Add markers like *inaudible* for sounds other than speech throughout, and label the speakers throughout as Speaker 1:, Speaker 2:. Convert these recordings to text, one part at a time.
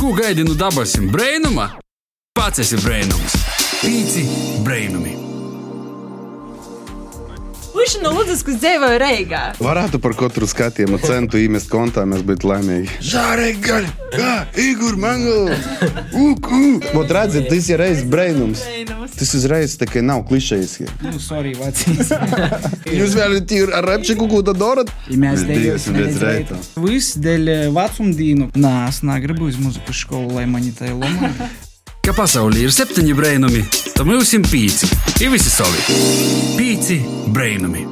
Speaker 1: Ko gaidi no dabasim? Brainuma? Pats esi brainums. Pīci brainumi.
Speaker 2: Viņš no Lūdzes, kas dzīvoja Reigā.
Speaker 3: Varētu par katru skatījumu centu īmest kontā, mēs būtu laimīgi. Žārai gaļa! Kā? Igur *laughs* Mangala! Uk, uk! Vot redziet, tas ir reizes brainums.
Speaker 2: Brainums.
Speaker 3: Tas uzreiz tā kā nav klišejiski.
Speaker 4: Nu, sorry, *laughs* vecīs.
Speaker 3: Jūs vēlaties ir ar repčiku, ko tad darat?
Speaker 4: Ja mēs
Speaker 3: Mēs
Speaker 4: dejosim
Speaker 3: diesim
Speaker 4: viens
Speaker 3: viens
Speaker 4: reitu.
Speaker 3: reitu.
Speaker 4: Viss dēļ e, vecumdīnu. Nā, es negribu uz muzikas skolu, lai mani tai loma.
Speaker 1: Ka pasaulē ir septiņi brainumi, tad mums ir pīci. Ir visi savi. Pīci brainumi.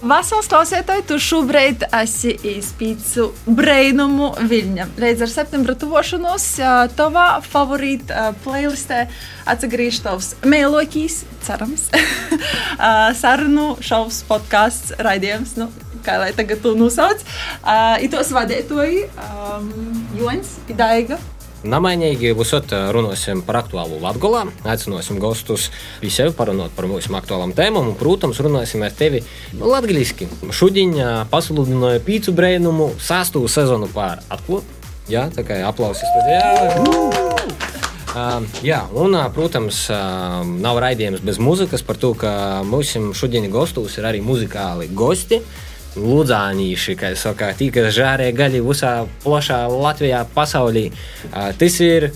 Speaker 2: Vasaras klausītāji, tu šobrīd esi izpīcu brainumu Viļņa. Līdz ar septembra tuvošanos ā, tavā favorīta playlistē atgriežas tavs mēlokīs, cerams, *laughs* ā, sarunu šovs podkāsts raidījums. Nu, kā lai tagad to nosauc. Uh, Itos vadītoji um, Joņs, Idaiga.
Speaker 5: Namainīgi būsot runāsim par aktuālu Latviju. Aicināsim gastus visiem parunāt par mūsu aktuālām tēmām. Un, protams, runāsim ar tevi latviešu. Šodien ā, pasludināju pīcu brainumu sastu sezonu pār atklātu. Jā, tā kā aplausi studijā. Uh, jā, un, ā, protams, ā, nav raidījums bez muzikas par to, ka mūsu šodienas gastos ir arī muzikāli gosti. Lūdzāņīši, kā jau saka, tika žārē gaļi visā plašā Latvijā, pasaulī. Ā, Tas ir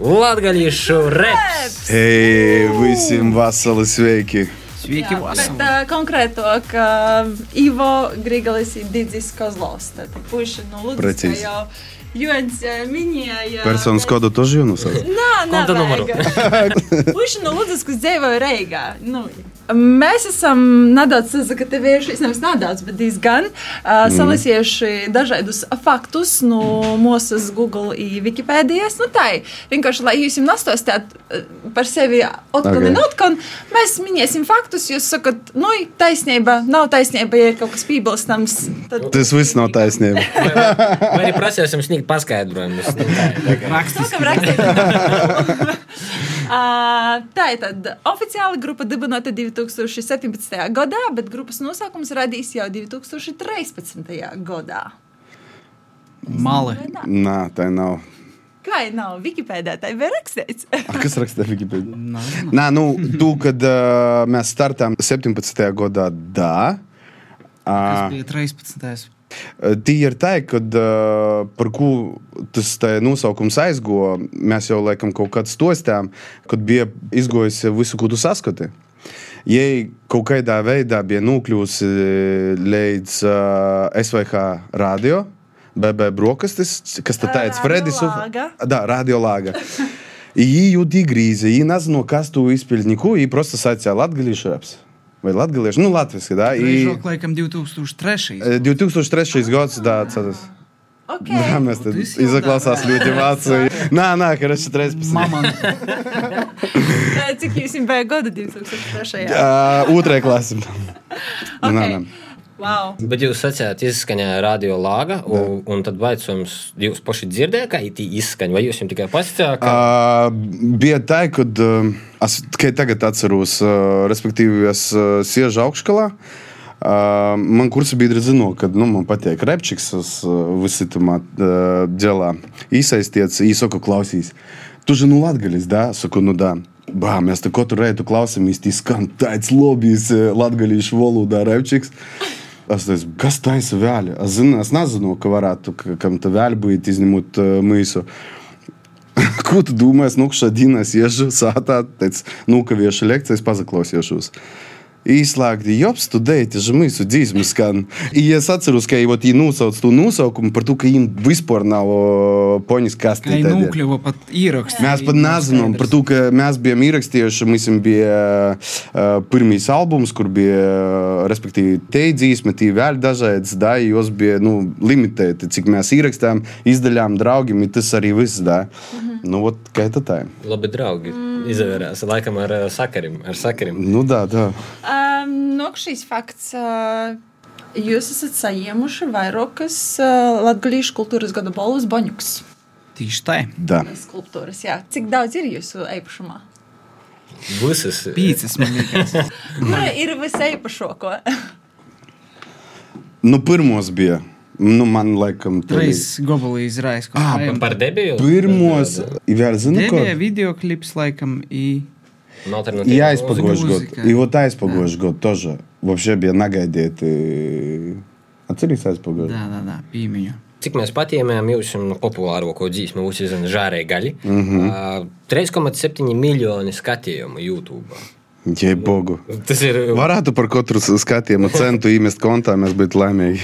Speaker 5: latgaļiešu reps!
Speaker 3: Hei, visiem vasali sveiki!
Speaker 4: Sveiki,
Speaker 2: bet
Speaker 4: vasarā.
Speaker 2: uh, konkrētāk, uh, Ivo Grigalis ir Digis Kozlovs. Tad puiši no Lūdzes, kā
Speaker 3: Precīzi.
Speaker 2: jau Joņs ā, minēja.
Speaker 3: Personas
Speaker 2: bet-
Speaker 3: kodu toži jūs nosaucat?
Speaker 2: Nā, nā,
Speaker 5: Konta numuru.
Speaker 2: *laughs* Puiši no Lūdzes, kas dzīvoja Reigā. Nu. Mēs esam nedaudz sazakatavējušies, nevis nedaudz, bet diezgan uh,
Speaker 3: Mhm.
Speaker 2: salasījuši dažādus faktus no mūsu Google un Wikipēdijas. Nu, tā ir vienkārši, lai jūs jums nastostāt par sevi
Speaker 3: Ok.
Speaker 2: otkon un otkon, mēs minēsim faktus, jūs sakat, nu, taisnība, nav taisnība, ja ir kaut kas piebilstams. Tad...
Speaker 3: Tas viss nav taisnība.
Speaker 5: Vai arī prasīsim sniegt paskaidrojumus? Nu, tā ir.
Speaker 4: Rakstis.
Speaker 2: Sākam rakstīt. *laughs* Ā, Ah, Tā ir tāda oficiāla grupa dibināta 2017. gadā, bet grupas nosaukums radīs jau 2013. gadā.
Speaker 4: Mali.
Speaker 3: Nā, tā nav.
Speaker 2: Kā jau nav Wikipēdē, tā ir *laughs* rakstīts.
Speaker 3: A, kas raksta Wikipēdijā? Nā, nu, tu, kad uh, mēs startām 17. gadā, da.
Speaker 4: Tas
Speaker 3: Uh,
Speaker 4: bija 13.
Speaker 3: Eh, Tī ir tā, ka uh, par ko tas tā nosaukums aizgo, mēs jau laikam kaut kādā stostām, kad bija izgojusi visu, ko tu saskati. Jei kaut kādā veidā bija nokļuvusi līdz uh, SVH radio, BB brokastis, kas tad tāds
Speaker 2: Ā,
Speaker 3: - Fredis.
Speaker 2: radiolāga.
Speaker 3: Да, радиолага. И ее дегризе, и нас, ну, касту испильнику, и просто сатя латгалиш рапс. Vai latgalieši, nu, latviski, da. I
Speaker 4: Žok, laikam, 2003.
Speaker 3: e, 2003. gads, da, atceras. Da,
Speaker 2: Okay.
Speaker 3: mēs tad
Speaker 4: Tu esi jau
Speaker 3: izaklausās
Speaker 4: tā.
Speaker 3: ļoti vācu. Nā, nā, короче, 13.
Speaker 4: Mama.
Speaker 2: Eh, Cik jums bija gada 2003. gadā?
Speaker 3: Uh, Otrajā klasē. Nā, nā.
Speaker 2: Wow.
Speaker 5: Bet jūs sacījāt, izskanēja radio lāga, un, un tad vaicājums, jūs paši dzirdējāt, kā IT izskan, vai jūs jums tikai pasakāt, ka
Speaker 3: А, bija tā, ka es tikai tagad atceros, ā, respektīvi, es ā, siežu augškalā. Uh, man kursa biedri zina, ka nu, man patīk repčiks, es uh, visi tam uh, dēlā iesaistīts, īsāku klausīs. Tu žinu latgalis, da? Saku, nu da. Bā, mēs te katru reitu klausāmies, tas skan tāds lobijs, latgalīšu valodā repčiks. Es teicu, kas taisa vēļa? Es, zinu, es nezinu, ka varētu ka- kam tā vēļa būt, izņemot uh, mīsu. Ko tu Nu, domā, es nokšu dienas iešu sātā, teicu, nu, ka viešu lekcijas pazaklausīšos. Īslēgti, jops, tu deiti, žemīsu dzīsmu skan. I es atceros, ka jau tī nosauc to nosaukumu par to, ka viņam vispār nav o, ponis
Speaker 4: Kai
Speaker 3: kastē. tādēļ.
Speaker 4: nukļuva pat īrakstā.
Speaker 3: Mēs pat nezinām par to, ka mēs bijām ierakstījuši. Mums bija uh, pirmais albums, kur bija uh, teidzīs, metī vēl dažādas daļas, jos bija nu, limitēti, cik mēs ierakstījām, izdalījām draugiem, un tas arī viss. Da. Nu, ot, kā tā tā?
Speaker 5: labi draugi izvērās, laikam ar ā, sakarim, ar sakarim.
Speaker 3: Nu, tā, tā.
Speaker 2: Um, Nokšīs fakts. Uh, jūs esat saņēmuši vairākas uh, Latvijas kultūras gada balvas boņuks.
Speaker 4: Tieši tā.
Speaker 3: Da.
Speaker 2: Skulptūras, jā. Cik daudz ir jūsu īpašumā?
Speaker 5: Visas.
Speaker 4: Pīcis man liekas.
Speaker 2: Nu, *laughs* Kur ir visai īpašāko?
Speaker 3: Nu, pirmos bija. Nu, man laikam, tai-
Speaker 4: Trīs gobali izraisa.
Speaker 3: Ah,
Speaker 5: Par debiju?
Speaker 3: Pirmos, vēl zinu, ko.
Speaker 4: Debija video klips laikam i...
Speaker 5: uh,
Speaker 3: И ја
Speaker 5: Jā,
Speaker 3: испогош год.
Speaker 4: Музика.
Speaker 3: И вот ја испогош год тоже. Вообще би нага дете. А цели са испогош.
Speaker 4: Jā, jā, jā, piemiņu.
Speaker 5: Cik mēs patījām jūsu nu, populārāko dzīsmu, mūsu izcēlīja žārēja gaļa. Mm
Speaker 3: Mhm.
Speaker 5: -hmm. uh, 3,7 miljoni skatījumu YouTube.
Speaker 3: Је богу.
Speaker 5: Tas ir. Uh,
Speaker 3: Варату пар котру се скатијам од центу и мест конта, мес бит лајме.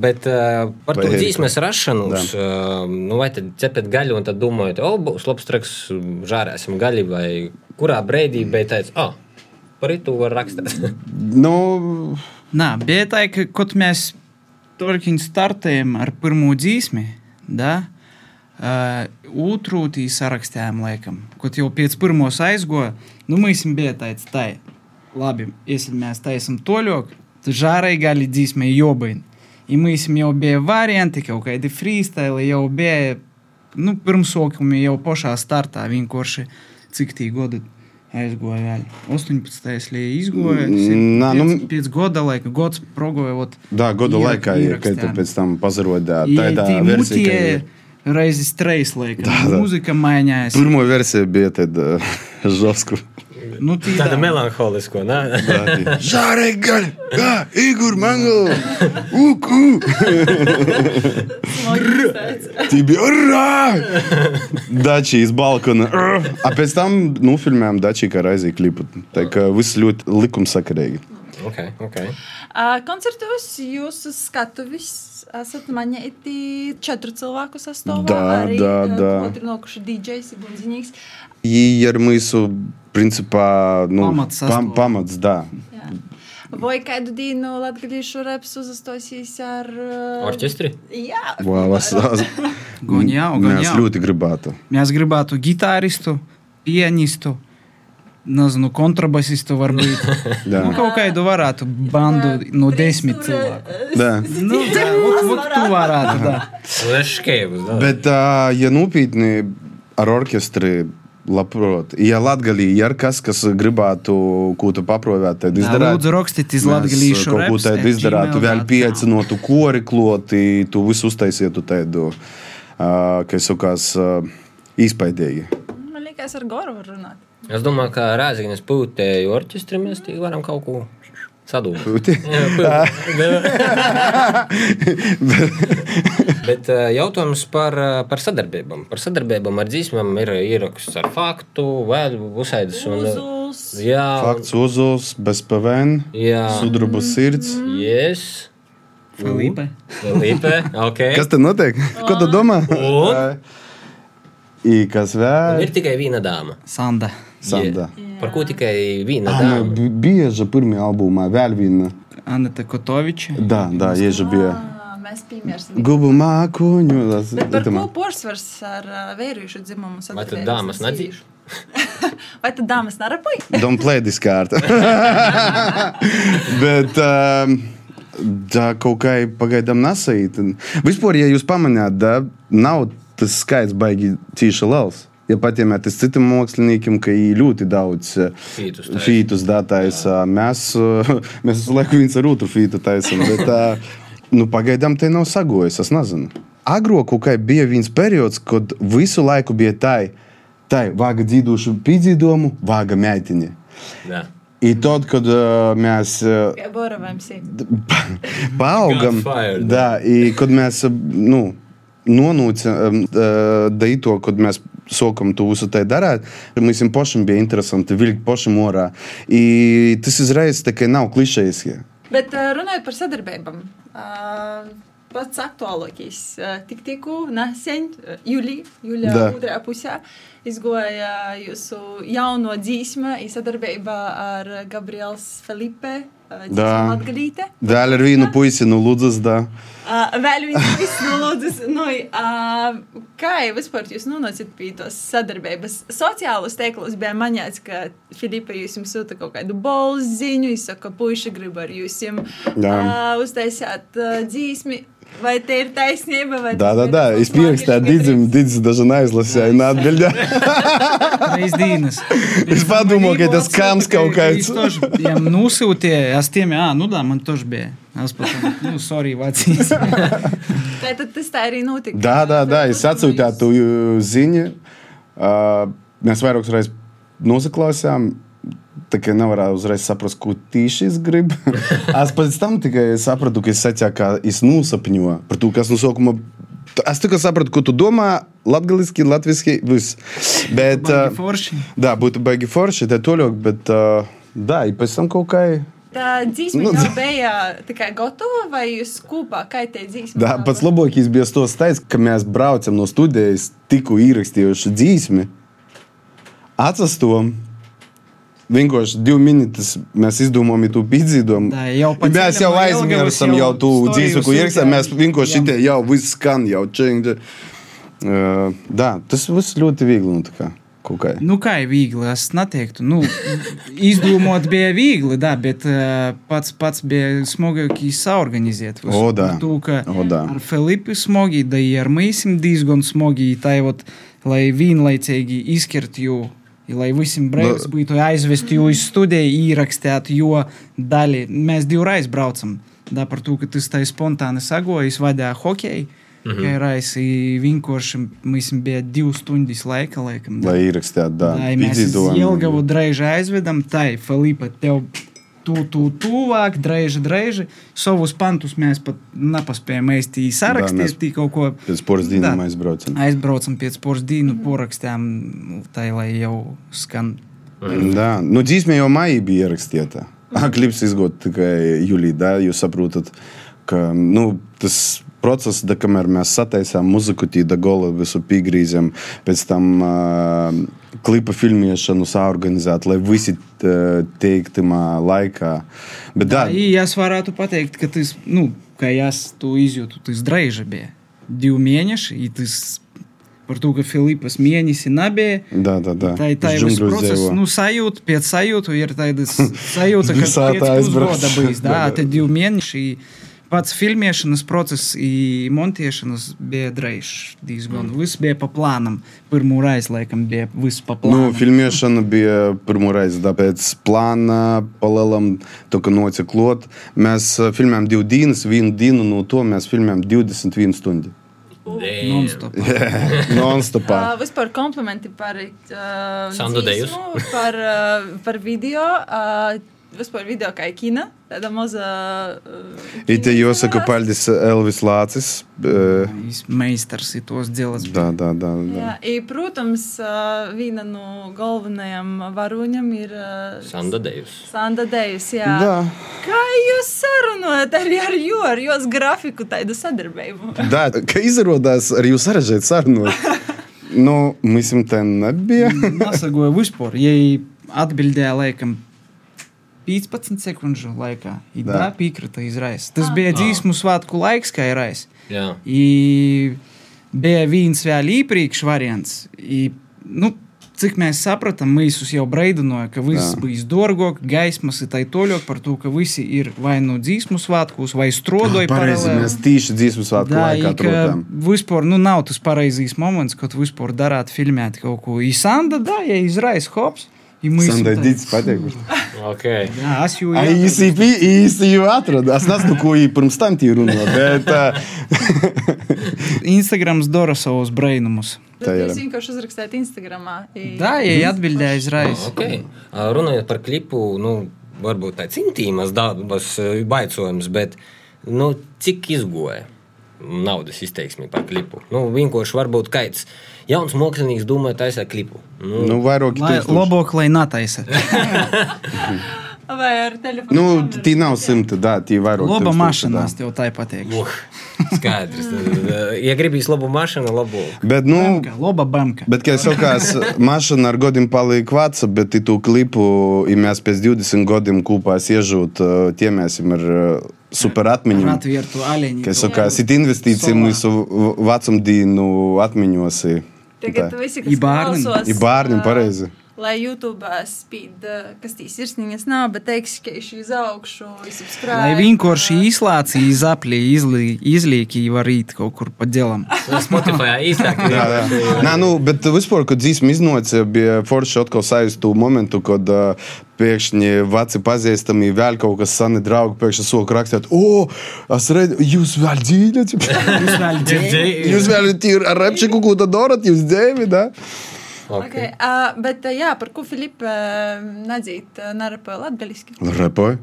Speaker 5: bet uh, par to
Speaker 3: Vai Erika?
Speaker 5: dzīsmes rašanu, uh, nu, vai tad cepiet gaļu un tad domājat, o, būs labs traks, žārēsim gaļu, vai kurā brīdī bija teicis, ah, par itu var rakstīt.
Speaker 3: Но
Speaker 4: Nā, bija tā, ka kaut mēs turkiņu startējām ar pirmo dzīsmi, da, uh, otru tī sarakstījām laikam. Kaut jau pēc pirmos aizgoja, nu mēs jums bija tāds, tai, labi, ja mēs taisam toļok, tad žārai gali dzīsmi jobain. И мы с jau bija varianti, kaut kādi freestyle, jau bija, nu, pirmsokumi jau pašā startā vienkārši, cik tī godi aizgoja vēl. 18. līja izgoja,
Speaker 3: Nā, nu-
Speaker 4: Pēc gada laika, gods progoja. Ot,
Speaker 3: да, году лајка е кај то пец там пазарува да, тај да версија.
Speaker 4: Mūtija reizes trīs laika.
Speaker 3: Tā, tā.
Speaker 4: Mūzika mainījās.
Speaker 3: Прво версија би ете *laughs* да жовско.
Speaker 4: Nu, tī,
Speaker 5: Tāda melanholiska, ne?
Speaker 3: Жаре галь. Да, Игор Мангл. Уку. Тебе ура! Дачи из балкона. Ура! Опять там, ну, фильмем дачи карайзи клипут. Так э, вы с люд лыком сакрей.
Speaker 5: *laughs* Ok, ok.
Speaker 2: Ā, Koncertos jūs uz skatuves esat maņēti četru cilvēku sastāvā.
Speaker 3: Dā,
Speaker 2: arī,
Speaker 3: dā,
Speaker 2: ā,
Speaker 3: dā.
Speaker 2: Otru nokuši DJs ir bunziņīgs.
Speaker 3: И Ярмысу, принципа, ну,
Speaker 4: Pamats sastāv.
Speaker 3: pam- pamats, да.
Speaker 2: Jā. Vai kādu dienu latgadīšu reps uzastosies ar... ā,
Speaker 5: Orķestri?
Speaker 2: Jā,
Speaker 3: Вау, вас- вас-
Speaker 4: Gan jau, gan
Speaker 3: Mēs
Speaker 4: jau.
Speaker 3: ļoti gribētu.
Speaker 4: Mēs gribētu gitāristu, pianistu, nezinu, kontrabasistu varbūt.
Speaker 3: *laughs*
Speaker 4: nu,
Speaker 3: Jā,
Speaker 4: kaut kādu varētu bandu no desmit cilvēku.
Speaker 2: eh,
Speaker 3: jā.
Speaker 4: Nu, tā, vot, vot tu varētu, da.
Speaker 5: Sveškēvus, da.
Speaker 3: Bet, ā, ja nopietni ar orķestri, labprāt, ja Latvijā ir kas, kas gribētu, ko tu paprovēt, tad
Speaker 4: Tā,
Speaker 3: izdarīt.
Speaker 4: lūdzu, rakstiet uz latgalīšu
Speaker 3: kaut ko
Speaker 4: raps
Speaker 3: tādu
Speaker 4: at
Speaker 3: izdarītu, vēl
Speaker 4: gmail.com.
Speaker 3: pieaicinotu kori kloti, tu visu uztaisītu tādu, ā, kā es sakās, izpaidīgi.
Speaker 2: man liekas, ar Goru var runāt.
Speaker 5: Es domāju, ka Rāzgājas pūtēju orķestri mēs tik varam kaut ko sadūrīt.
Speaker 3: Pūti? Ah.
Speaker 5: *laughs* Bet eh, jautājums par, eh, par sadarbībām. Par sadarbībām ar dzīsmām ir ieraksts ar faktu, vēl uzsaidas un
Speaker 2: Uzuls.
Speaker 5: Jā,
Speaker 3: Fakts uzuls, bez PVN,
Speaker 5: jā.
Speaker 2: Mm.
Speaker 3: sudraba sirds.
Speaker 5: Yes.
Speaker 4: Filipe.
Speaker 5: Lipe, ok.
Speaker 3: *laughs*
Speaker 2: Eh?
Speaker 3: Kas te notiek? Ko tu domā?
Speaker 5: Un?
Speaker 3: I kas vēl?
Speaker 5: Ir tikai viena dāma.
Speaker 4: Sanda.
Speaker 3: Sanda. Ah, nu.
Speaker 5: Jā. Par ko tikai viena
Speaker 3: А,
Speaker 5: dāma?
Speaker 3: мы бежа пирми албума, вяльвина.
Speaker 4: Anita Kotoviča.
Speaker 3: Да, да, есть же бия.
Speaker 2: Ā, Mēs piemērsim.
Speaker 3: Губы макуню. да,
Speaker 2: Bet par
Speaker 3: это
Speaker 2: ko
Speaker 3: ма-
Speaker 2: porcelāns ar ā, vērīšu dzimumu
Speaker 5: Vai tad
Speaker 2: sadarbojas?
Speaker 5: dāmas nedzīvo?
Speaker 2: *laughs* Vai tad dāmas nerapoja?
Speaker 3: Don't play this card.
Speaker 2: *laughs*
Speaker 3: Bet um, tā kaut kā pagaidām nesaīt. Vispār, ja jūs pamanāt, da, nav tas skaits baigi tīši liels. Ja patiemēt, tas citam māksliniekam, ka ir ļoti daudz eh,
Speaker 5: Fītus taisa.
Speaker 3: fītus datais. Mēs, eh, *laughs* mēs visu laiku viens ar otru fītu taisam. Bet, eh, nu, pagaidām te nav sagojis, es nezinu. Agro kaut kā bija viens periods, kad visu laiku bija tā, tā vāga dzīvošu pīdzīdomu, vāga meitini.
Speaker 5: Jā.
Speaker 3: I tad, kad uh, mēs uh,
Speaker 2: Kā Bora vai MC?
Speaker 3: paaugam,
Speaker 5: Got fired.
Speaker 3: da, i kad mēs uh, nu, nonācām uh, līdz tam, kad mēs sākām to visu tai darīt, mums pašam bija interesanti vilkt pašam orā. I tas izraisa tā, ka nav klišejiski.
Speaker 2: Bet ā, runājot par sadarbībām. ā, Pats aktuālākais. ā, Tik tikko nesen, ā, jūlijā, jūlijā
Speaker 3: Da.
Speaker 2: otrajā pusē, izgoja jūsu jauno dzīsmu, sadarbībā ar Gabriels Felipe.
Speaker 3: Da.
Speaker 2: Atgalīte.
Speaker 3: Dēļ ar vīnu puisi, nu, lūdzas, da.
Speaker 2: Ā, Vēl viens viss *laughs* no lūdzas, nu, ā, kā jau vispār jūs nonācat pie tos sadarbības? Sociālos teiklus bija maņāts, ka Filipa jūs jums sūta kaut kādu bolziņu, jūs saka, puiši grib ar jūs jums
Speaker 3: Jā.
Speaker 2: uztaisāt ā, dzīsmi. Vai te ir taisnība? vai
Speaker 3: Да,
Speaker 2: tas
Speaker 3: да,
Speaker 2: ir
Speaker 3: да.
Speaker 2: kaut
Speaker 3: Из пиркста
Speaker 2: mākslinieka
Speaker 3: дидзим, дидзим даже наизлася, и на отбельда.
Speaker 5: *laughs*
Speaker 4: Reiz dienas.
Speaker 3: Es padomāju, ka tas kams kaut kāds.
Speaker 4: Viņam nosūtīja, es tiem, ah, nu tā, man tož bija. Es patam, nu, sorry,
Speaker 3: *laughs*
Speaker 4: Vācijas.
Speaker 2: Vai tad tas tā arī notika?
Speaker 3: Jā, jā, jā. Es atsūtīju ziņu. Uh, mēs vairākas reizes nosaklausījām. Tā kā nevarēja uzreiz saprast, ko tieši es
Speaker 4: *laughs*
Speaker 3: gribu. es pēc tam tikai sapratu, ka es secinu, ka es nusapņoju par to, kas no sākuma. Es tikai sapratu, ko tu domā, latviešu, latviešu, viss. Bet,
Speaker 4: Baigi
Speaker 3: ā,
Speaker 4: forši.
Speaker 3: Jā, būtu baigi forši, tad toļok, bet ā, jā, i pēc tam kaut kā.
Speaker 2: Tā dzīsme
Speaker 3: Nu,
Speaker 2: jau
Speaker 3: dz-
Speaker 2: bija tikai gatava, vai jūs kopā kaitējat dzīsmu?
Speaker 3: Да, pats labākais bija tas teiks, ka mēs braucam no studijas, tikko ierakstījuši dzīsmi. Atsastom. Vienkārši divi minūtes mēs izdomājām to pīdzīdumu.
Speaker 4: Da, jau pa
Speaker 3: mēs jau
Speaker 4: ceļam, jau
Speaker 3: aizmirsām
Speaker 4: ilgavas,
Speaker 3: jau
Speaker 4: jau
Speaker 3: to
Speaker 4: stojus
Speaker 3: dzīsmu, ko ierakstām. Mēs
Speaker 4: ilgi,
Speaker 3: vienkārši
Speaker 4: jā.
Speaker 3: šitie jau viss skan, jau čingi. Uh, da, tas viss ļoti viegli. Nu, tā kā, kaut kā.
Speaker 4: Nu, kā ir viegli, es neteiktu. Nu, izdomot bija viegli, da, bet ā, pats, pats bija smagākie saorganizēt. visu.
Speaker 3: O, da.
Speaker 4: Par to, ka
Speaker 3: O, da.
Speaker 4: ar Filipu smagi, da i ar mīsim diezgan smagi, tai vot, lai vienlaicīgi izkirt jū. i Lai visiem brīvs būtu aizvest jū uz studiju, ierakstīt jo daļu. Mēs divreiz braucam. Da, par to, ka tas tā spontāni sagojas, vadīja hokeju. Mm -hmm. Reiz vienkārši mums bija divas stundas laika, laikam. da.
Speaker 3: Lai ierakstītu, da,
Speaker 4: Ai, Mēs ilgavu drēžu aizvedam, tai Filipa, tev tu, tu, tuvāk, drēži, drēži. Savus pantus mēs pat nepaspējam īsti
Speaker 3: mēs
Speaker 4: sarakstīt, tī kaut ko.
Speaker 3: Pēc poras dienām
Speaker 4: Da.
Speaker 3: aizbraucam.
Speaker 4: Aizbraucam pēc poras dienu, porakstām, tai lai jau skan.
Speaker 3: Да, ну dzīsmē jau maija bija ierakstīta. A, klips izgūt tikai jūlijā, da, jūs saprotat, ka nu, tas process, da, kamēr mēs sataisām muziku, tīda gola visu pīgrīzēm, pēc tam uh, klipa filmēšanu saorganizēt, lai visi uh, teiktumā laikā. Bet da,
Speaker 4: Jā, es varētu pateikt, ka tas, nu, kā es to izjūtu, tas drēži bija. Divi mēneši, i tas par to, ka Filipas mēnesi nebija.
Speaker 3: da, da, da.
Speaker 4: Tā ir tā
Speaker 3: Uz
Speaker 4: līnija,
Speaker 3: džungļu
Speaker 4: kas
Speaker 3: dzīvo.
Speaker 4: nu, sajūta, pēc sajūta ir tāda s- sajūta, ka
Speaker 3: Visā tā
Speaker 4: tas ir
Speaker 3: aizbrauc.
Speaker 4: gada bijis.
Speaker 3: Jā,
Speaker 4: Jā,
Speaker 3: jā.
Speaker 4: tad divi mēneši. Pats filmēšanas process, i montēšanas bija drēbšs diezgan. Mm. Viss bija pa plānam. Pirmā reize, laikam, bija viss pa plānam.
Speaker 3: Nu, filmēšana bija pirmo reizi, tāpēc plāna palēlam to, ka nociklot. Mēs ā, filmējām divu dienas, vienu dienu no to mēs filmējām 21
Speaker 4: *laughs*
Speaker 3: stundu.
Speaker 4: Non-stop.
Speaker 3: Non-stopā.
Speaker 2: Uh, vispār komplimenti par uh,
Speaker 5: Sandu Dejus.
Speaker 2: *laughs* par, uh, par video. Uh, vispār video kā ikina, tāda maza. Uh,
Speaker 3: Ir te jāsaka paldies Elvis Lācis. ā,
Speaker 4: Viņš meistars ir tos dēlas.
Speaker 3: Da, da, da, da.
Speaker 2: Jā, i, protams, ā, viena no galvenajām varoņiem ir ā,
Speaker 5: Sanda Dejus.
Speaker 2: Sanda Dejus. Jā.
Speaker 3: Da.
Speaker 2: Kā jūs sarunājat arī ar jo, ar jos grafiku, tādu sadarbību?
Speaker 3: Da, ka izrādās, arī jūs sarežģījāt
Speaker 4: *laughs*
Speaker 3: sarunu. Nu, mēs jums te nebijām.
Speaker 4: Nesagoja vispār. Jei atbildēja laikam 15 sekundžu laikā. I
Speaker 3: Da.
Speaker 4: Tā piekrita izraisa. Tas bija dzīsmu svētku laiks, kā izraisa.
Speaker 5: Jā.
Speaker 4: I bija viens vēl īpriekš variants. I, nu, cik mēs sapratām, Mīsus jau braidinoja, ka viss
Speaker 3: Jā.
Speaker 4: bija dārgāk, gaismas ir tai toļāk par to, ka visi ir vai nu dzīsmu svētkos, vai strodoja
Speaker 3: Pareizi, mēs tīši dzīsmu svētku
Speaker 4: Да,
Speaker 3: laikā
Speaker 4: и
Speaker 3: atrodām.
Speaker 4: ka vispār nu, nav tas pareizais moments, kad vispār darāt filmēt kaut ko. I Sanda, da, ja izraisa hops, i mēs...
Speaker 3: Sandai Dītis pateikuši.
Speaker 5: Ok.
Speaker 4: Jā, es jau...
Speaker 3: Ai, jis į jį, jis į jį atrado. Aš nesu, kuo į pirmstam tyrūną, bet...
Speaker 4: Instagrams dara savus brainumus.
Speaker 3: Tā
Speaker 2: Tā
Speaker 3: ir. Mhm.
Speaker 2: jūs vienkārši uzrakstījāt Instagram.
Speaker 4: Da,
Speaker 2: Mhm.
Speaker 4: ja atbildēja izraisa.
Speaker 5: Okay. Runājot par klipu, nu, varbūt tāds intīmas darbas e, baicojums, bet nu, cik izgoja naudas izteiksmi par klipu? Nu, vienkārši varbūt kāds jauns mākslinieks domā taisā klipu. Nu,
Speaker 3: Nu, vairāk
Speaker 4: Lai,
Speaker 3: kitų.
Speaker 4: labāk, lai nataisa.
Speaker 2: Vai ar telefonu?
Speaker 3: Nu,
Speaker 2: kameru?
Speaker 3: tai nausimti, da, tai vairāk.
Speaker 4: Loba mašīnā, es tev tai pateikšu.
Speaker 5: uh,
Speaker 3: *laughs*
Speaker 5: skaidrs. E, Ja gribīs labu mašīnu, labu.
Speaker 3: Bet, nu,
Speaker 4: Bemka, Loba bamka.
Speaker 3: Bet kai sakas mašina ar godim palaikvatsa, bet į tų klipų, į mes pės 20 godim kūpą siežūt, uh, tie mes im ir super atminim.
Speaker 4: Atvērtu alieni.
Speaker 3: Kai sakas, į investicijų mūsų vatsam dynų atminiuosi.
Speaker 2: Tagad visi,
Speaker 4: I
Speaker 2: kas
Speaker 4: bārnim.
Speaker 2: klausās,
Speaker 3: Į barnim,
Speaker 2: ā,
Speaker 3: pareizi.
Speaker 2: lai YouTube spīd, ā, kas tīs sirsniņas nav, bet teiks, ka es uz augšu, es subscribe.
Speaker 4: Lai vienkārši izlācīja, izlīja, izlīja, var rīt kaut kur pa dēlam.
Speaker 5: Spotify īstāk.
Speaker 3: *laughs* Jā, jā. Nā, nu, bet vispār, kad dzīsma iznāca, bija forši atkal sajust to momentu, kad uh, pēkšņi veci pazīstami, vēl kaut kas sani draugi, pēkšņi soka rakstīt, o, es redzu, jūs vēl dzīvojat, *laughs* jūs vēl ir ar repčiku, ko tad darat, jūs dēvi, da?
Speaker 2: Okay. Uh, bet, uh, jā, par ko Filipa uh, nedzīt, uh, narapa latgaliski.
Speaker 3: Repoj.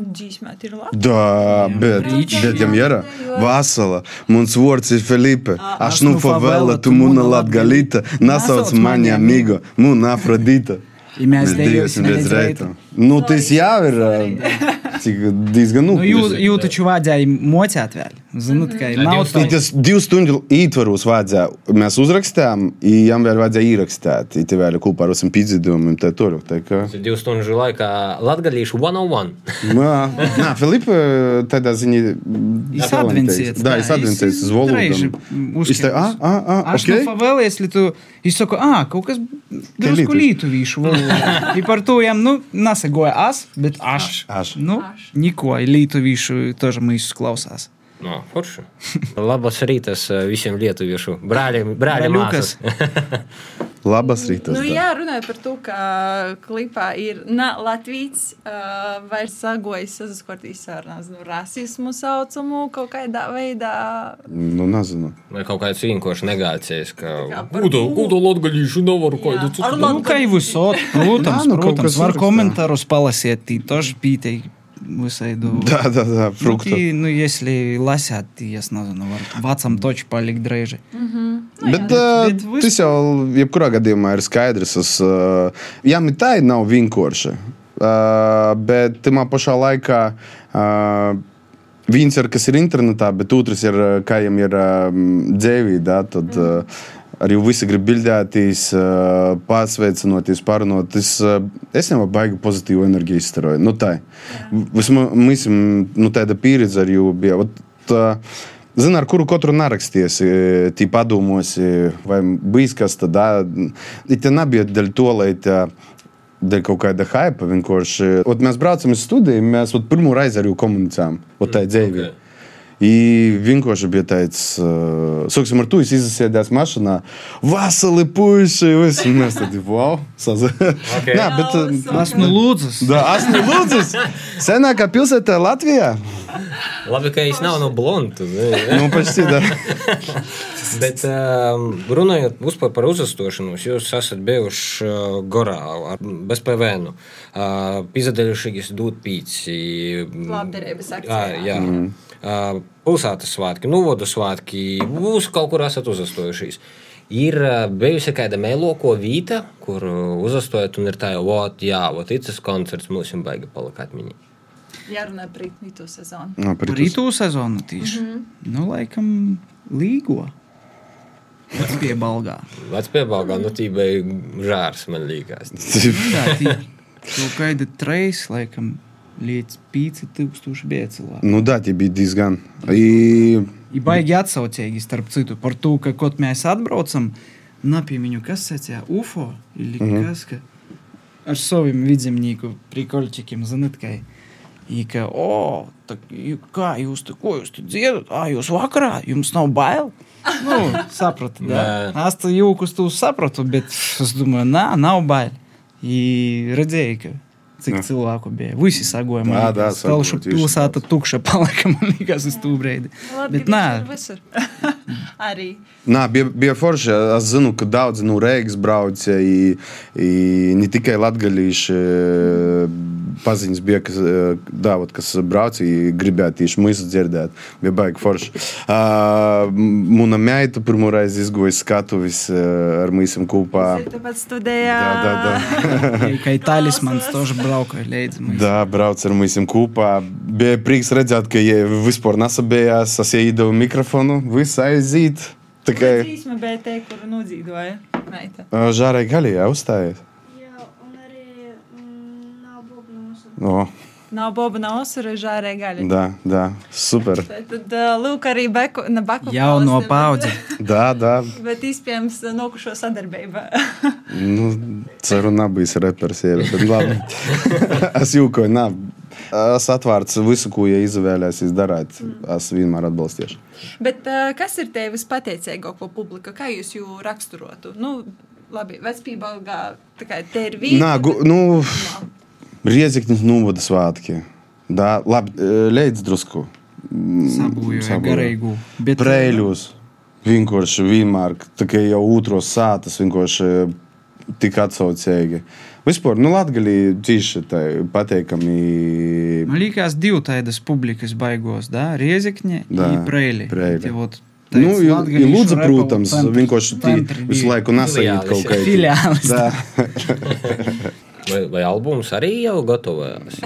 Speaker 2: Dzīsmēt ir labi.
Speaker 3: Да, bet,
Speaker 2: Rīčs.
Speaker 3: bet jam yra vasala, mums vārds ir Felipe, aš nu
Speaker 4: nu favela,
Speaker 3: favela, tu
Speaker 4: tu
Speaker 3: mūna
Speaker 4: mūna
Speaker 3: latgalita, nasauc
Speaker 4: Nasauc mani
Speaker 3: mani amigo, mūna afrodita.
Speaker 4: Ja mēs dejosim
Speaker 3: bez
Speaker 4: bez
Speaker 3: reita.
Speaker 4: reita.
Speaker 3: Nu, tas jau ir uh, cik, diezgan
Speaker 4: Nu, jūs,
Speaker 3: unikāls.
Speaker 4: jūs taču vajadzēja mocēt vēl. Ziniet, kā ir.
Speaker 5: Tad
Speaker 4: Nav
Speaker 5: jūs
Speaker 4: tā,
Speaker 5: tā-
Speaker 3: Tas divu stundu ietvaros vajadzēja. Mēs uzrakstījām, un viņam vēl vajadzēja ierakstīt. Tie vēl ir kopā ar visiem pīdzidumiem, tā tur. Tā kā.
Speaker 5: Divu stundu laikā latgadīšu 101.
Speaker 3: Jā, Nā, Filipa, tādā ziņā. mm,
Speaker 4: Jis advinciet.
Speaker 3: Да, es advincēju uz valodu.
Speaker 4: Viņš tā,
Speaker 3: ah, ah, ah,
Speaker 4: Aš okay.
Speaker 3: ok.
Speaker 4: nufavėl, если tu... Jis sako, a, kaut kas drusku
Speaker 3: Lietuviš.
Speaker 4: lietuvišu valodą.
Speaker 3: *laughs*
Speaker 4: Ir par to jam, nu, nasagoja as, bet aš.
Speaker 3: Aš.
Speaker 4: Nu, niko, lietuvišu тоже мы klausās.
Speaker 5: No,
Speaker 3: *laughs*
Speaker 5: kurš? Labas rītas eh, visiem lietuviešu brāļiem, brāļiem
Speaker 4: Brāļukas.
Speaker 3: Labas rītas.
Speaker 2: Nu,
Speaker 3: da.
Speaker 2: jā, runājot par to, ka klipā ir na, Latvijas uh, vairs sagojis saskartīs ar nezinu, rasismu saucamu kaut kādā veidā.
Speaker 3: Nu, nezinu. *laughs*
Speaker 5: Vai kaut kāds vienkārši negācijas, ka
Speaker 2: Kā par
Speaker 5: gūdu, gūdu latgadīšu nevaru
Speaker 2: Jā.
Speaker 5: kādu
Speaker 2: Ar
Speaker 5: citu.
Speaker 4: Nu, kā jau
Speaker 3: *laughs*
Speaker 4: visot, protams,
Speaker 3: Da, nu, kaut
Speaker 4: protams,
Speaker 3: kas
Speaker 4: var
Speaker 3: uzrakstā.
Speaker 4: komentārus palasiet, tī тоже pītei visai du.
Speaker 3: Jā, tā, tā,
Speaker 4: Ну,
Speaker 3: frukta.
Speaker 4: ты, ну, если лосят, ты, я знаю, ну, вар- вацам точь палик дрейжи.
Speaker 3: Bet, uh,
Speaker 4: bet vis-
Speaker 3: tas jau jebkurā gadījumā ir skaidrs. Es, uh, jā, mitai nav vienkārši. Uh, bet tajā pašā laikā uh, viens ir kas ir internetā, bet otrs ir uh, kā viņam ir um, dzīvī. da, tad, uh, Arī visi grib bildēties, uh, pārsveicinoties, parunot. Es, uh, es jau baigi pozitīvu enerģiju izstaroju. Nu, tā ir. Mums nu, tāda pieredze arī bija. Ot, uh, Zini, ar kuru katru narakstīsi, tī padomāsi, vai bijis kas tada. Te nebija dēļ to, lai te. Dēļ kaut kāda hype vienkārši. e, Ot, mēs braucam uz studiju, mēs ot, pirmo reizi ar viņu komunicējām. Ot, tā ir dzīve.
Speaker 5: Mm, ok.
Speaker 3: И vienkārši bija tāds, uh, sāksim ar to, es izsēdās mašīnā, vasali puiši, visi mēs tad, wow, sazā.
Speaker 5: Ok.
Speaker 3: Nā, bet, uh,
Speaker 4: Нас ну лудзас.
Speaker 3: da, asni lūdzas, senākā pilsētā Latvijā?
Speaker 5: Labi, ka es nav no blondu.
Speaker 2: *laughs*
Speaker 3: Nu, pašti, da.
Speaker 5: Bet um, runājot vispār par uzstāšanos, jūs esat bijuši uh, gorā ar- bez PVN. Uh, Izdevušies dūt pīci.
Speaker 4: Nu,
Speaker 5: mm,
Speaker 2: Labdarības akcijā.
Speaker 5: Jā, jā. Mm. Uh, pilsētas svētki, novodu svētki, jūs kaut kur esat uzstājušies. Ir uh, bijusi kāda mēloko vīta, kur uh, uzstājot, un ir tā, vot, jā, vot, tas koncerts mums ir baigi palikt atmiņā.
Speaker 2: Jārunā par rītu sezonu.
Speaker 3: Nā, pritus.
Speaker 4: *laughs* Rytų sezoną tyš. Nu, laikam, lygo. Pie balgā.
Speaker 5: Vecpiebalgā, nu, tībai žārs, man liekas.
Speaker 4: Jā, tī. Kaut kāda treis, laikam, līdz 5000 bija cilvēki.
Speaker 3: Nu да, tie bija diezgan. I...
Speaker 4: Ir baigi atsaucīgi, starp citu, par to, ka kaut mēs atbraucam, napiemiņu, kas secē UFO, ili mm. kas, ka ar saviem vidzemnieku prikolčikiem, zinat, kai. I ka, o, tā, jū- kā jūs tur, ko jūs tur dziedat? Ā, jūs vakarā, jums nav bail? Nu, sapratu, da.
Speaker 5: Nē.
Speaker 4: Es to jūkus tu sapratu, bet pff, es domāju, nā, nav bail. I redzēju, ka cik cilvēku bija. Visi sagoja man.
Speaker 3: Ā, dā,
Speaker 4: liekas, Telšu
Speaker 3: sagoja, tieši tā.
Speaker 4: pilsēta *laughs* tukša palika, man liekas, uz tū breidi. Bet nē,
Speaker 2: *laughs* visur. Arī.
Speaker 3: Nā, bija, bija forši. Es zinu, ka daudzi no nu, Reigas brauca. i- i Ne tikai latgadījuši paziņas bija, kas, e, dā, vot, kas brauca, i gribēja tieši mūsu dzirdēt. Bija baigi forši. Uh, Mūna meita pirmo reizi izgoja skatuvis e, ar mūsu kopā.
Speaker 2: Tāpēc
Speaker 3: Jā,
Speaker 2: studējā.
Speaker 3: jā, jā.
Speaker 4: *laughs* Kā itālijas man stāž brauka līdzi.
Speaker 3: Да, brauc ar mums kopā. Bija prieks redzēt, ka viņi vispār nesabijās. Es iedevu mikrofonu, visu aiziet. Tā kā
Speaker 2: Dzīsma BT, kuru nudzīvoja meita.
Speaker 3: ā, žārai gaļai uzstājies.
Speaker 6: Jā, un arī mm, nav būgnu mūsu.
Speaker 3: No.
Speaker 2: Nav boba, nav osura, ir žārē gaļa.
Speaker 3: Jā, jā, super.
Speaker 2: Tad uh, lūk, arī beku, ne beku.
Speaker 4: Jauno
Speaker 2: pauzne, *laughs*
Speaker 4: paudzi.
Speaker 3: Jā, jā,
Speaker 2: Bet, bet iespējams, uh, nokušo sadarbība. *laughs*
Speaker 3: nu, ceru, nebūs reperis. jau, bet labi. *laughs* Es jūkoju, nā. Es atvērts visu, ko ja izvēlēsies darīt. Es vienmēr atbalstīšu.
Speaker 2: bet uh, kas ir tev vispateicīgāko publika? Kā jūs jū raksturotu? Nu, labi, vecpībā tikai te ir vīna.
Speaker 3: Nā, gu, nu, Rieziknis novada svētki. Jā, labi, e, leidz drusku. Mm,
Speaker 4: Sabūju
Speaker 3: sabūju.
Speaker 4: garīgu. bet-
Speaker 3: Brēļus. Vienkārši vienmēr, tā kā jau otros sātas, vienkārši tik atsaucīgi. Vispār, nu, Latvijā tieši tā pateikami.
Speaker 4: Man liekas, divi tādas publikas baigos, da? Riezikņi
Speaker 3: Da,
Speaker 4: un Preili.
Speaker 3: Preili.
Speaker 4: Tie вот tāds
Speaker 3: Nu, ir ir
Speaker 4: latgalīšu
Speaker 3: lūdzu,
Speaker 4: repa
Speaker 3: protams,
Speaker 4: centri-
Speaker 3: vienkārši tī,
Speaker 4: centri
Speaker 3: visu
Speaker 4: bija.
Speaker 3: laiku nesajūt kaut
Speaker 4: *laughs*
Speaker 3: kā
Speaker 4: Filiālis.
Speaker 3: Jā,
Speaker 5: Vai, vai albums arī jau gatavojās?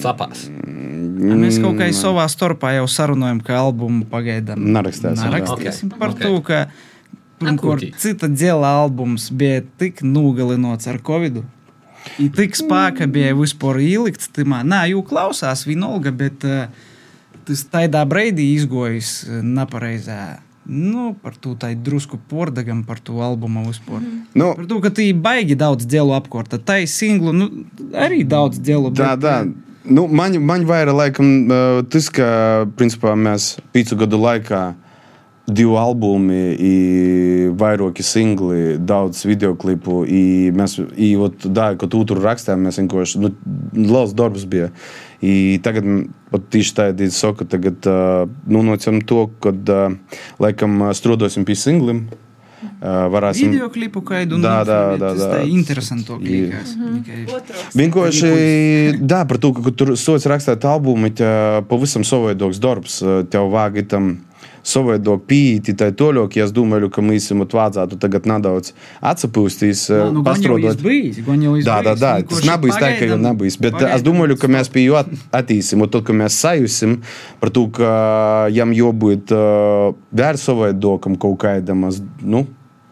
Speaker 5: Capās.
Speaker 4: Mēs kaut kā savā starpā jau sarunājam, ka albumu pagaidām
Speaker 3: Narakstēsim, jā.
Speaker 4: Narakstīsim
Speaker 5: Ok,
Speaker 4: par
Speaker 5: ok.
Speaker 4: to, ka pirmkārt,
Speaker 5: Akūti.
Speaker 4: cita dēla albums bija tik nogalināts ar covid. Ir tik spēka bija vispār ielikts timā. Nā, jau klausās vienalga, bet eh, tas tādā breidī izgojis eh, nepareizā. Nu, par to tā ir drusku pordagam, par to albumu vispār.
Speaker 5: Mhm.
Speaker 4: Mm.
Speaker 3: Nu,
Speaker 4: Par to, ka tī baigi daudz dēlu apkorta. Tā ir singlu, nu, arī daudz eh, dēlu.
Speaker 3: Tā, tā. Nu, man, man vairāk, laikam, eh, tas, ka principā, mēs piecu gadu laikā divi albumi, i vairāki singli, daudz videoklipu, i mēs, i ot, da, ko tu tur rakstām, mēs vienkārši, nu, liels darbs bija. I tagad, m, ot tieši tā, ir saka, tagad, eh, nu, nocem to, kad, eh, laikam, eh, strādāsim pie singliem, eh, varēsim.
Speaker 4: Video klipu kaidu. nu,
Speaker 3: Da, da,
Speaker 4: filmi,
Speaker 3: da,
Speaker 4: tas
Speaker 3: da. E-
Speaker 4: tā interesanto
Speaker 3: Ir.
Speaker 4: klīkās. Tikai-
Speaker 3: Vienkārši *laughs* tā, par to, ka kad tur sots rakstīt albumu, ir pavisam savādāks darbs. ā, Tev vajag tam savādāk pīti, tā toļāk. Ja es domāju, ka mēs jums atvācātu tagad nedaudz atsapūstīs, ā,
Speaker 4: Nu, gan jau
Speaker 3: pastrādāt.
Speaker 4: izbijis, gan jau
Speaker 3: Jā, jā,
Speaker 4: izbijis.
Speaker 3: jā.
Speaker 4: Nu,
Speaker 3: Tas
Speaker 4: kurš
Speaker 3: nav bijis tā, ka jau
Speaker 4: pagaidām-
Speaker 3: nav bijis. Bet
Speaker 4: pagaidām
Speaker 3: es domāju, ka mēs pie jo attīstīsim. Tad, kad mēs sajusim par to, ka jam jābūt ā, vērsovai dokam kaut kādam, es, nu,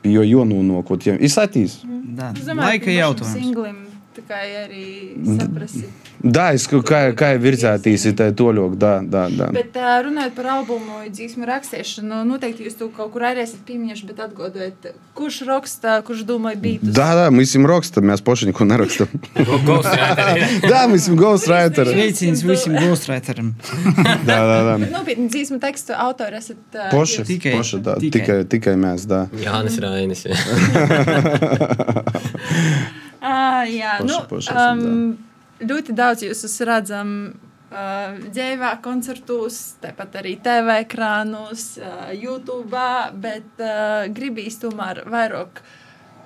Speaker 3: pie jo jo nonokot. jam. Es attīstīšu.
Speaker 4: Da,
Speaker 2: Es domāju,
Speaker 4: Laika
Speaker 2: ka pašam
Speaker 4: jautājums.
Speaker 2: Singlim tikai arī saprasti.
Speaker 3: Да, es kaut kā, kā virzētīs, ir tā toļāk. Da, da, da.
Speaker 2: Bet ā, runājot par albumu, dzīsmu rakstīšanu, noteikti jūs to kaut kur arī esat pieminējuši, bet atgādājiet, kurš raksta, kurš domāja beigas.
Speaker 3: Да, да, мы с ним рокстом, я с Пошеньку на рокстом. Да, мы с ним гоустрайтер.
Speaker 4: Sveiciens visiem ghostwriteriem.
Speaker 3: Да, да, да.
Speaker 2: Nopietni, dzīsmu tekstu autori esat. ā,
Speaker 3: Poša,
Speaker 2: jūs.
Speaker 4: Tikai-
Speaker 3: Poša, да,
Speaker 4: tikai.
Speaker 3: tikai, tikai mēs, да.
Speaker 5: Jānis Rainis. Nu,
Speaker 2: Ā, Jā,
Speaker 3: Poša,
Speaker 2: nu,
Speaker 3: poša esam,
Speaker 2: ām, ļoti daudz jūs esat redzam. ā, Dzīvē, koncertos, tāpat arī TV ekrānos, ā, YouTube, bet ā, gribīs tomēr vairāk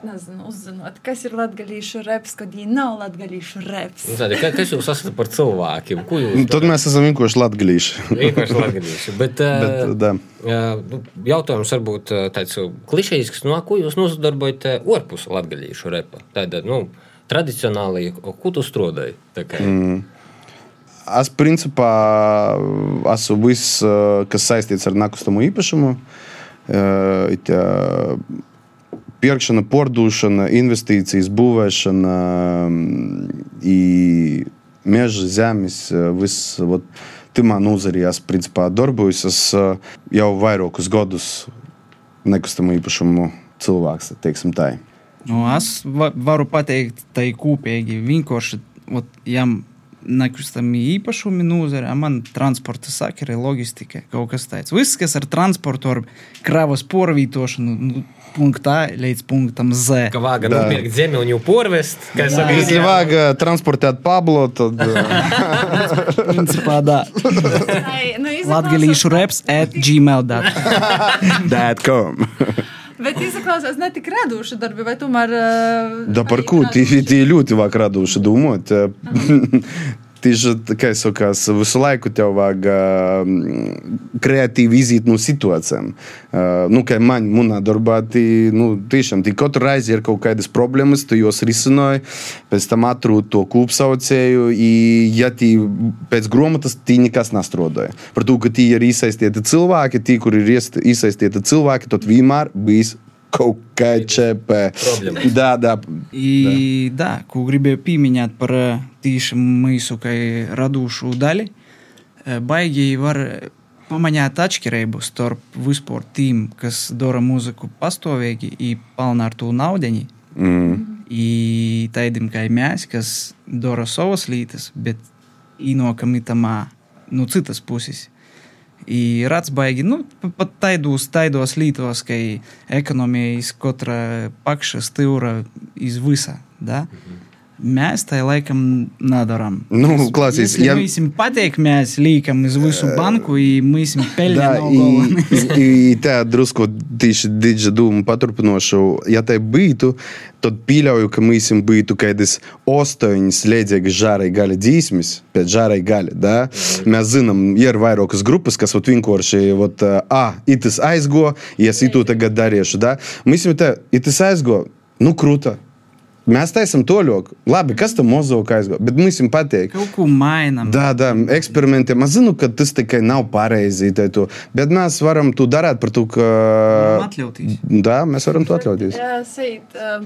Speaker 2: nezinu, uzzināt, kas ir latgadījušu reps, kad viņi nav latgadījušu reps.
Speaker 5: *laughs* Kas jūs esat par cilvēkiem? Ko jūs
Speaker 3: Nu, Tad mēs esam vienkārši latgalīši.
Speaker 5: vienkārši lagadījuši? Bet,
Speaker 3: Bet,
Speaker 5: eh,
Speaker 3: da.
Speaker 5: eh, nu, jautājums varbūt eh, tāds eh, klišejisks, no ko jūs nozadarbojat eh, orpus latgadījušu repa? Tāda, nu, tradicionāli, ko tu strādāji? Tā kā
Speaker 3: Es principā esmu viss, eh, kas saistīts ar nakustamo īpašumu. Eh, it, eh, Pirkšana, pārdošana, investīcijas, būvēšana, mm, i meža, zemes, eh, viss. vot Timā nozarī es principā darbojos. Es eh, jau vairākus gadus nekustamo īpašumu cilvēks, teiksim tā.
Speaker 4: Nu, es va- varu pateikt, tai kopīgi. Vienkārši vot jam nekustami īpašumi nozare, a man transporta sakari, logistika, kaut kas tāds. Viss, kas ar transportu, ar kravas porvītošanu, nu, punktā līdz punktam Z.
Speaker 5: Ka vāga nopirkt zemi un jau porvest, kā es
Speaker 4: Jā.
Speaker 5: saku,
Speaker 3: Если вага транспортēt Pablo, tad eh,
Speaker 4: Principā, da.
Speaker 2: Ai, nu, izklausās-
Speaker 4: Latgalīšu reps at gmail.com.
Speaker 3: that come.
Speaker 2: Bet izklausās ne tik radoši darbi, vai tomēr. ā,
Speaker 3: Да
Speaker 2: arī
Speaker 3: парку, ты,
Speaker 2: radoši?
Speaker 3: ты ļoti vāk radoši domā. *laughs* Ты же, kā jau saka, visu laiku tev vajag ā, kreatīvi iziet no situācijām. Ā, Nu, kā man, manā darbā, tī, nu, tiešām, tī katru reizi ir kaut kādas problēmas, tu jos risināji, pēc tam atrūti to kūpsaucēju, i, ja tī pēc gromatas, tī nekas nastrodāja. Par to, ka tī ir iesaistīti cilvēki, tī, kur ir iest- iesaistīti cilvēki, tad vienmēr bijis kaut kā čepē.
Speaker 5: Problēmas.
Speaker 3: Jā, jā.
Speaker 4: И да, ko gribēju pieminēt par ā, tīši mūsu kā radošu daļu, ā, baigi var pamanīt atšķirību starp vispār tiem, kas dara mūziku pastāvīgi un pelna ar to naudu.
Speaker 3: Mm.
Speaker 4: И тайдим кай мясь, kas dara savas lietas, bet įnokami tamā, nu, citas puses. И rats baigi, nu, pat taidos, taidos lytos, kai ekonomija iz kotra pakša stiura iz visa, da? Mes tai laikam nadaram.
Speaker 3: Nu, klasīs,
Speaker 4: ja...
Speaker 3: ja-
Speaker 4: Mēs pateik, mēs līkam iz visu banku, i mēs
Speaker 3: Да,
Speaker 4: pelnam.
Speaker 3: и, и, и tā drusku tieši didža dūmu paturpinošu. Ja tai būtu, tad pīļauju, ka mīsim būtu kādas ostoņas leidzīgas žārai gali dzīsmes, pēc žārai gali, da? Mēs zinām, ir vairākas grupas, kas vat vienkārši, vat, a, itis aizgo, ja es itu tagad dariešu, da? Mīsim tā, itis aizgo, nu krūta. Mēs taisam toļok. Labi, kas tam mozauk aizgo? Bet mīsim pateik.
Speaker 4: Kaut ko mainam.
Speaker 3: Da, da, eksperimentiem. Es zinu, ka tas tikai nav pareizi. tai tu, Bet mēs varam to darīt par to, ka.
Speaker 4: Atļauties.
Speaker 3: Jā, mēs varam to atļauties.
Speaker 2: Seit, eh,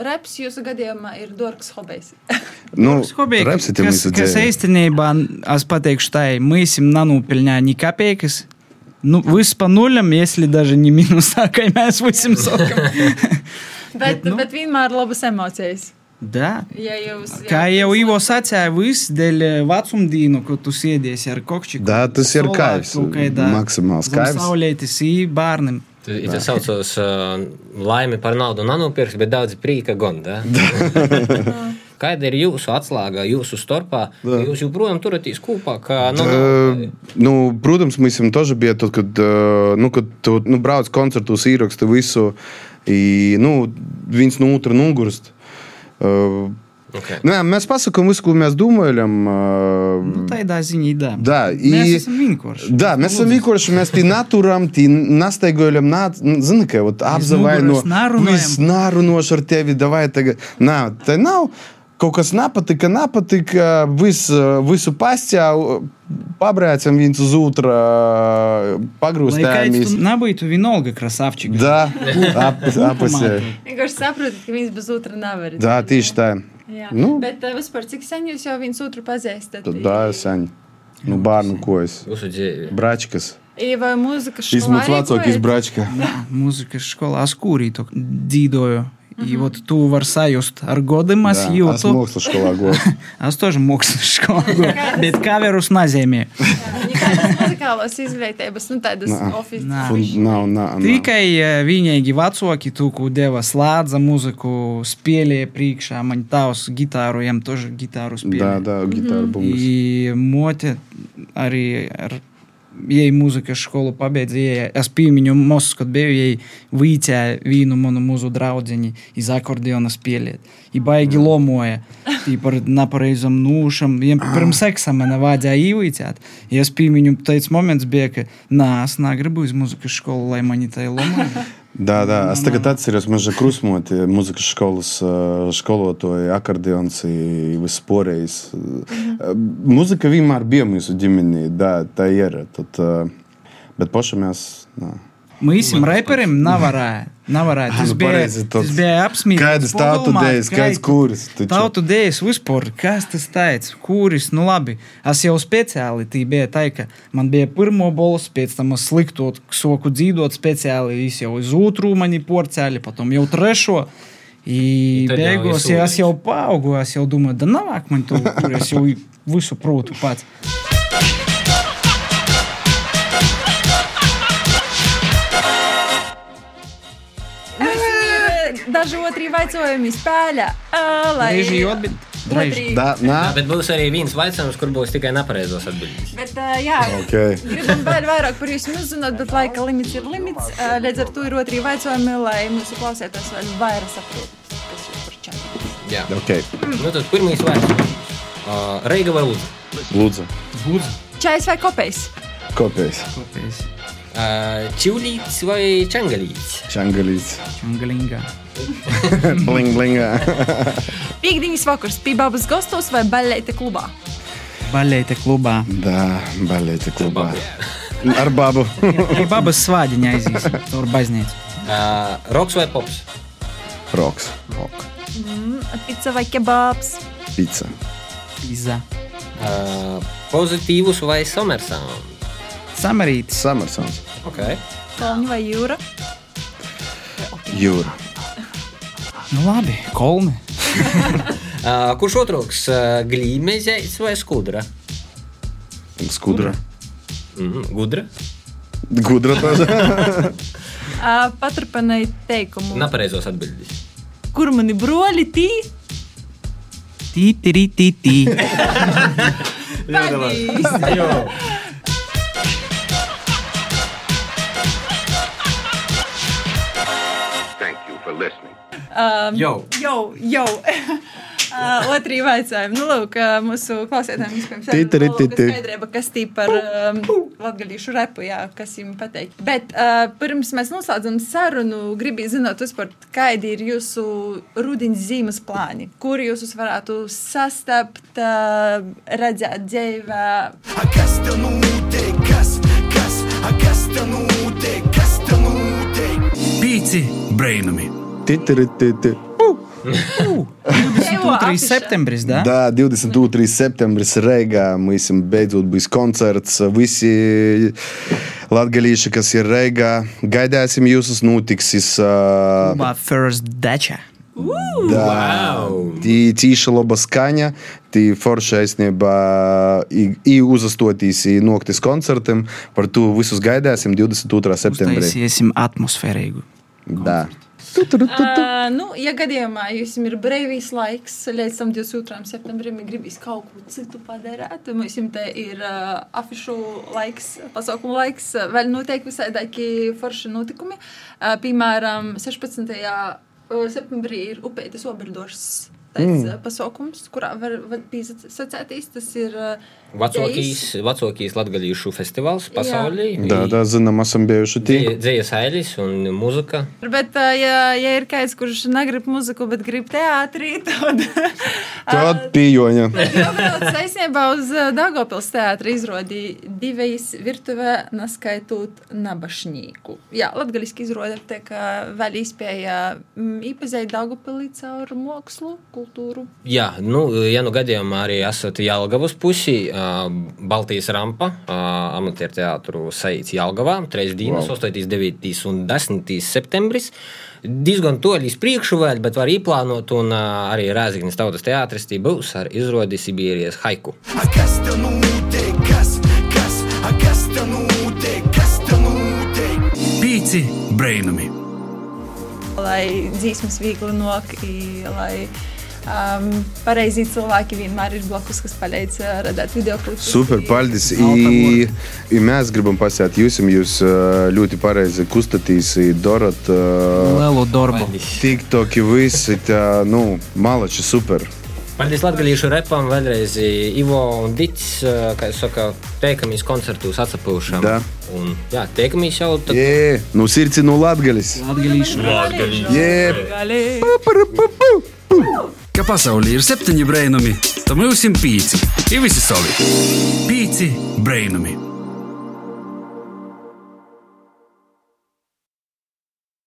Speaker 2: reps jūsu gadījumā ir dārgs hobijs.
Speaker 3: Nu,
Speaker 4: Toks hobijs,
Speaker 3: reps ir tas,
Speaker 4: kas, kas īstenībā, es pateikšu, tā ir mūsim nanūpilņā ni kapeikas. Nu, viss pa nuliam, если даже не минуса, kai mēs būsim sokam.
Speaker 2: *laughs* Bet,
Speaker 4: nu.
Speaker 2: nu? bet vienmēr labas emocijas.
Speaker 4: да.
Speaker 2: Ja jūs, ja
Speaker 4: Kā jau Ivo sacīja, viss dēļ vecumdīnu, ko tu sēdies ar kokšķi.
Speaker 3: Da, tas ir kaivs. Maksimāls kaivs.
Speaker 4: Saulētis į bārnim.
Speaker 5: Ir tas saucās uh, laimi par naudu, nanopirks, bet daudz prīka gondā. Kāda ir jūsu atslēga, jūsu starpā? Jūs joprojām turaties kopā, kā nu,
Speaker 3: Э,
Speaker 4: nu.
Speaker 3: Ну, protams, mums jau tas bija, tad, kad, э, nu, kad tu nu, brauc koncertos, ieraksti visu, i, nu, viens no otra nogurst. Э,
Speaker 5: okay.
Speaker 3: Nu, jā, mēs pasakām visu, ko mēs domājam.
Speaker 4: Nu, tā ir tā ziņa, da.
Speaker 3: Да, и...
Speaker 4: Mēs esam vinkoši.
Speaker 3: Да, mēs esam vienkārši, mēs tie naturam, tie nastaigojam, nat, zini, ka vat apzavaino.
Speaker 4: nugaros narunājam.
Speaker 3: Mēs narunoši ar tevi, davai tagad. Nā, tai nav, kaut kas napatika, napatika, vis, visu pastjā, pabrēcam viens uz otra,
Speaker 4: Lai kāds
Speaker 3: pagrūstējamies.
Speaker 4: tu nebūtu vienalga krasavčika.
Speaker 3: Да, ap, apasē.
Speaker 2: vienkārši saprotat, ka viens bez otra nevar.
Speaker 3: Да, tieši tā.
Speaker 2: Jā.
Speaker 3: Nu.
Speaker 2: Nu? Bet uh, vispār, cik sen jūs jau viens otru pazīstat?
Speaker 3: Tad da, sen. Nu, bārnu kojas.
Speaker 5: jūsu dzīve.
Speaker 3: Bračkas.
Speaker 2: Ir vai mūzika
Speaker 3: Šis
Speaker 2: škola
Speaker 3: mums
Speaker 2: arī
Speaker 3: vecākais
Speaker 2: ko ir?
Speaker 3: bračka.
Speaker 4: музыка школа, а скури только дидою. И вот ту варсаюст ar godam es
Speaker 3: Jā, es
Speaker 4: jūtu.
Speaker 3: mokslu skolā goju.
Speaker 4: Es тоже *laughs* mokslas skolā. Bet kaverus nazēmē.
Speaker 2: Nekādas muzikālās izglītības, nu tādas
Speaker 3: Nā.
Speaker 2: oficiālas.
Speaker 4: Nā.
Speaker 3: Fun- Nav, nav. nav.
Speaker 4: Tikai eh, vienīgi vecāki, tu, kur deva slādza muziku, spēlēja priekšā, man tavs gitāru, jam тоже gitāru
Speaker 3: Да,
Speaker 4: spēlēja.
Speaker 3: да, гитара
Speaker 4: Mhm.
Speaker 3: бумбас.
Speaker 4: И моте arī ar Jei muzika skolu pabeidza, jei es piemiņu mūsu, kad biju, jei vītē vīnu manu mūzu draudzeni iz akordeona spēlēt. I baigi lomoja, i par napareizam nūšam, jiem pirms seksa mane vādīja īvītēt. I es piemiņu, teic moments bija, ka nā, es negribu iz muzikas skolu, lai mani tai lomoja.
Speaker 3: Да, да. Es
Speaker 4: Mhm.
Speaker 3: tagad atceros, man ir krusmoti muzikas skolas ā, skolotāji, akordeons, i viss porējs.
Speaker 4: Mhm.
Speaker 3: Ā, Muzika vienmēr bija mūsu ģimenī, da, tā ir. Tad, ā, bet pašam mēs. nā.
Speaker 4: Mūsim reperim navarāja. Navarāja. Tas
Speaker 3: nu,
Speaker 4: bija,
Speaker 3: pareizi,
Speaker 4: tas
Speaker 3: tas-
Speaker 4: bija apsmīts.
Speaker 3: Kādas tautu dēļas, kādas kuras. taču.
Speaker 4: Tautu dēļas vispār, kas tas tāds, kuris, nu labi, es jau speciāli tī bija tā, ka man bija pirmo bols, pēc tam es sliktot, soku dzīvot speciāli, es jau uz otru mani porcēli, patom jau trešo. I
Speaker 5: I tad jau
Speaker 4: beigās,
Speaker 5: ir
Speaker 4: ja es
Speaker 5: sūdiņš.
Speaker 4: jau paaugu, es jau domāju, da navāk man to, kur es jau visu protu pats.
Speaker 2: Eh, Daži otri vaicojumi spēļā. Ā, Lai
Speaker 4: Reiži jodbi, reiži.
Speaker 2: Otri.
Speaker 3: Da, nā.
Speaker 5: Bet būs arī viens jautājums, kur būs tikai nepareizos atbildēs.
Speaker 2: Bet, uh, jā,
Speaker 3: Ok.
Speaker 2: gribam vēl vairāk par jums uzzināt, bet laika limits ir limits. Uh, līdz ar to ir otri vaicojumi, lai mūsu klausētājs vēl vairāk saprotu, kas jūs par čempionu.
Speaker 5: Jā,
Speaker 3: Ok,
Speaker 5: nu, tad pirmais jautājums. Uh, Reiga vai Lūdzu?
Speaker 3: lūdzu.
Speaker 2: Čais vai kopējs?
Speaker 3: Kopējas.
Speaker 4: Kopējs.
Speaker 5: Uh, Čivlīts vai Čangalīts?
Speaker 3: Čangalīts.
Speaker 4: Čungalinga.
Speaker 3: *laughs* Bling, bling.
Speaker 2: Pīkdienas vakars, pībabas gastos vai balēta klubā?
Speaker 4: Balēta klubā.
Speaker 3: Da, balēti klubā. Ar babu.
Speaker 4: Ir babas svādiņa aizies. Tur baznīca.
Speaker 5: Ā, Roks vai pops?
Speaker 3: Roks. Rok.
Speaker 2: Pica vai kebabs?
Speaker 3: Pica.
Speaker 4: Pizza.
Speaker 5: Ā, Pozitīvus vai summersāns?
Speaker 4: Samarītis.
Speaker 3: Summersons.
Speaker 5: Okay.
Speaker 2: Kalni vai jūra?
Speaker 3: Jūra.
Speaker 4: Nu labi, kolni.
Speaker 5: Ā, Kurš otrs - glīmežais vai skudra?
Speaker 3: Skudra.
Speaker 5: Mm, gudra.
Speaker 3: Gudra тоже.
Speaker 2: Ā, Paturpinai teikumu.
Speaker 5: Nepareizos atbildīs.
Speaker 2: Kur mani broļi tī?
Speaker 4: Tī, tī, tī, tī.
Speaker 2: Padīs.
Speaker 6: Thank you for listening.
Speaker 4: Jau.
Speaker 2: Jau, jau. *laughs* Ā, Otrī vaicājumi. Nu, lūk, ā, mūsu klausītājiem vispirms
Speaker 3: Titri,
Speaker 2: jāizvēlas
Speaker 3: titri.
Speaker 2: skaidrība, kas tī par um, latgalīšu repu, jā, kas jums pateikt. Bet uh, pirms mēs noslēdzam sarunu, gribīju zināt, vispār, kādi ir jūsu rudiņas zīmes plāni, kur jūs jūs varētu sastapt, uh, redzēt dzīvē.
Speaker 1: Пійці брейномі.
Speaker 3: Ти-ти-ри-ти-ти.
Speaker 2: Dzīvo
Speaker 4: 3.
Speaker 2: apiša.
Speaker 4: septembris, da?
Speaker 3: Da, 22. septembris Reigā. Mislim, beidzot būs koncerts. Visi latgalīši, kas ir Reigā, gaidāsim jūsus notiksis. ā,
Speaker 4: Ba, first dača.
Speaker 3: Да. Tī tīša laba skaņa, tī forša aizsniebā i uzastotīs i noktis koncertam. Par to visus gaidāsim 22. septembrī.
Speaker 4: Uztaisīsim atmosfērīgu.
Speaker 3: Da.
Speaker 2: Ā, Nu, ja gadījumā jums ir brīvs laiks, līdz tam 22. septembrim, ja gribīs kaut ko citu padarīt, tad mums te ir uh, afišu laiks, pasākumu laiks, ā, vēl noteikti visādākie forši notikumi. Uh, piemēram, 16. septembrī ir upeitas obrdošs. Tas mm. pasākums, kurā var, var piesacēties, tas ir eh, ā,
Speaker 5: Vecākais,
Speaker 2: dejs.
Speaker 5: vecākais latgadījušu festivāls pasaulī.
Speaker 3: Da, da, zinām, esam bijuši tī.
Speaker 5: Dzīves ailis un mūzika.
Speaker 2: Bet, ā, ja, ja ir kāds, kurš negrib muziku, bet grib teātrī, *laughs* tad
Speaker 3: Tad pījoņa.
Speaker 2: Pamatot saistībā uz eh, Dāngopils teātra izrādīja divējas virtuvē, neskaitot nabašnīku. Jā, latgaliski izrāda te, ka vēl izpēja mm, īpazīt Dāngopilī caur mākslu, kultūru.
Speaker 5: Jā, nu, ja nu gadījumā arī esat Jālgavas pusī, ā, Baltijas rampa, ā, amatieru teātru saīts Jālgavā, 3 dienas, wow. 8, 9 un 10 septembris. Diezgan to līdz priekšu vēl, bet var īplānot, un ā, arī Rēzignas tautas teātris tī būs ar izrodi Sibīrijas haiku.
Speaker 1: Пійці брейномі.
Speaker 2: lai dzīsmas viegli nokļūtu, lai um, pareizi cilvēki vienmēr ir blakus, kas palīdz ā, radīt video klipus.
Speaker 3: Super, paldies. И, и mēs gribam pasēt jūsim, jūs ā, ļoti pareizi kustatīs, i darat ā,
Speaker 4: Lelo dorbu.
Speaker 3: TikTok, i visi, tā, nu, malači, super.
Speaker 5: Paldies Latvijas repam, vēlreiz Ivo un Dits, ā, kā jau saka, teikamies koncertos atsapūšam.
Speaker 3: Da.
Speaker 5: Un, jā, teikamies jau tad.
Speaker 3: Jē, nu sirds, nu latgalis.
Speaker 4: Atgalīšu.
Speaker 3: Jē,
Speaker 1: Капаса олір септені брейномі. Та ми усім пійці. І висі солі. Пійці брейномі.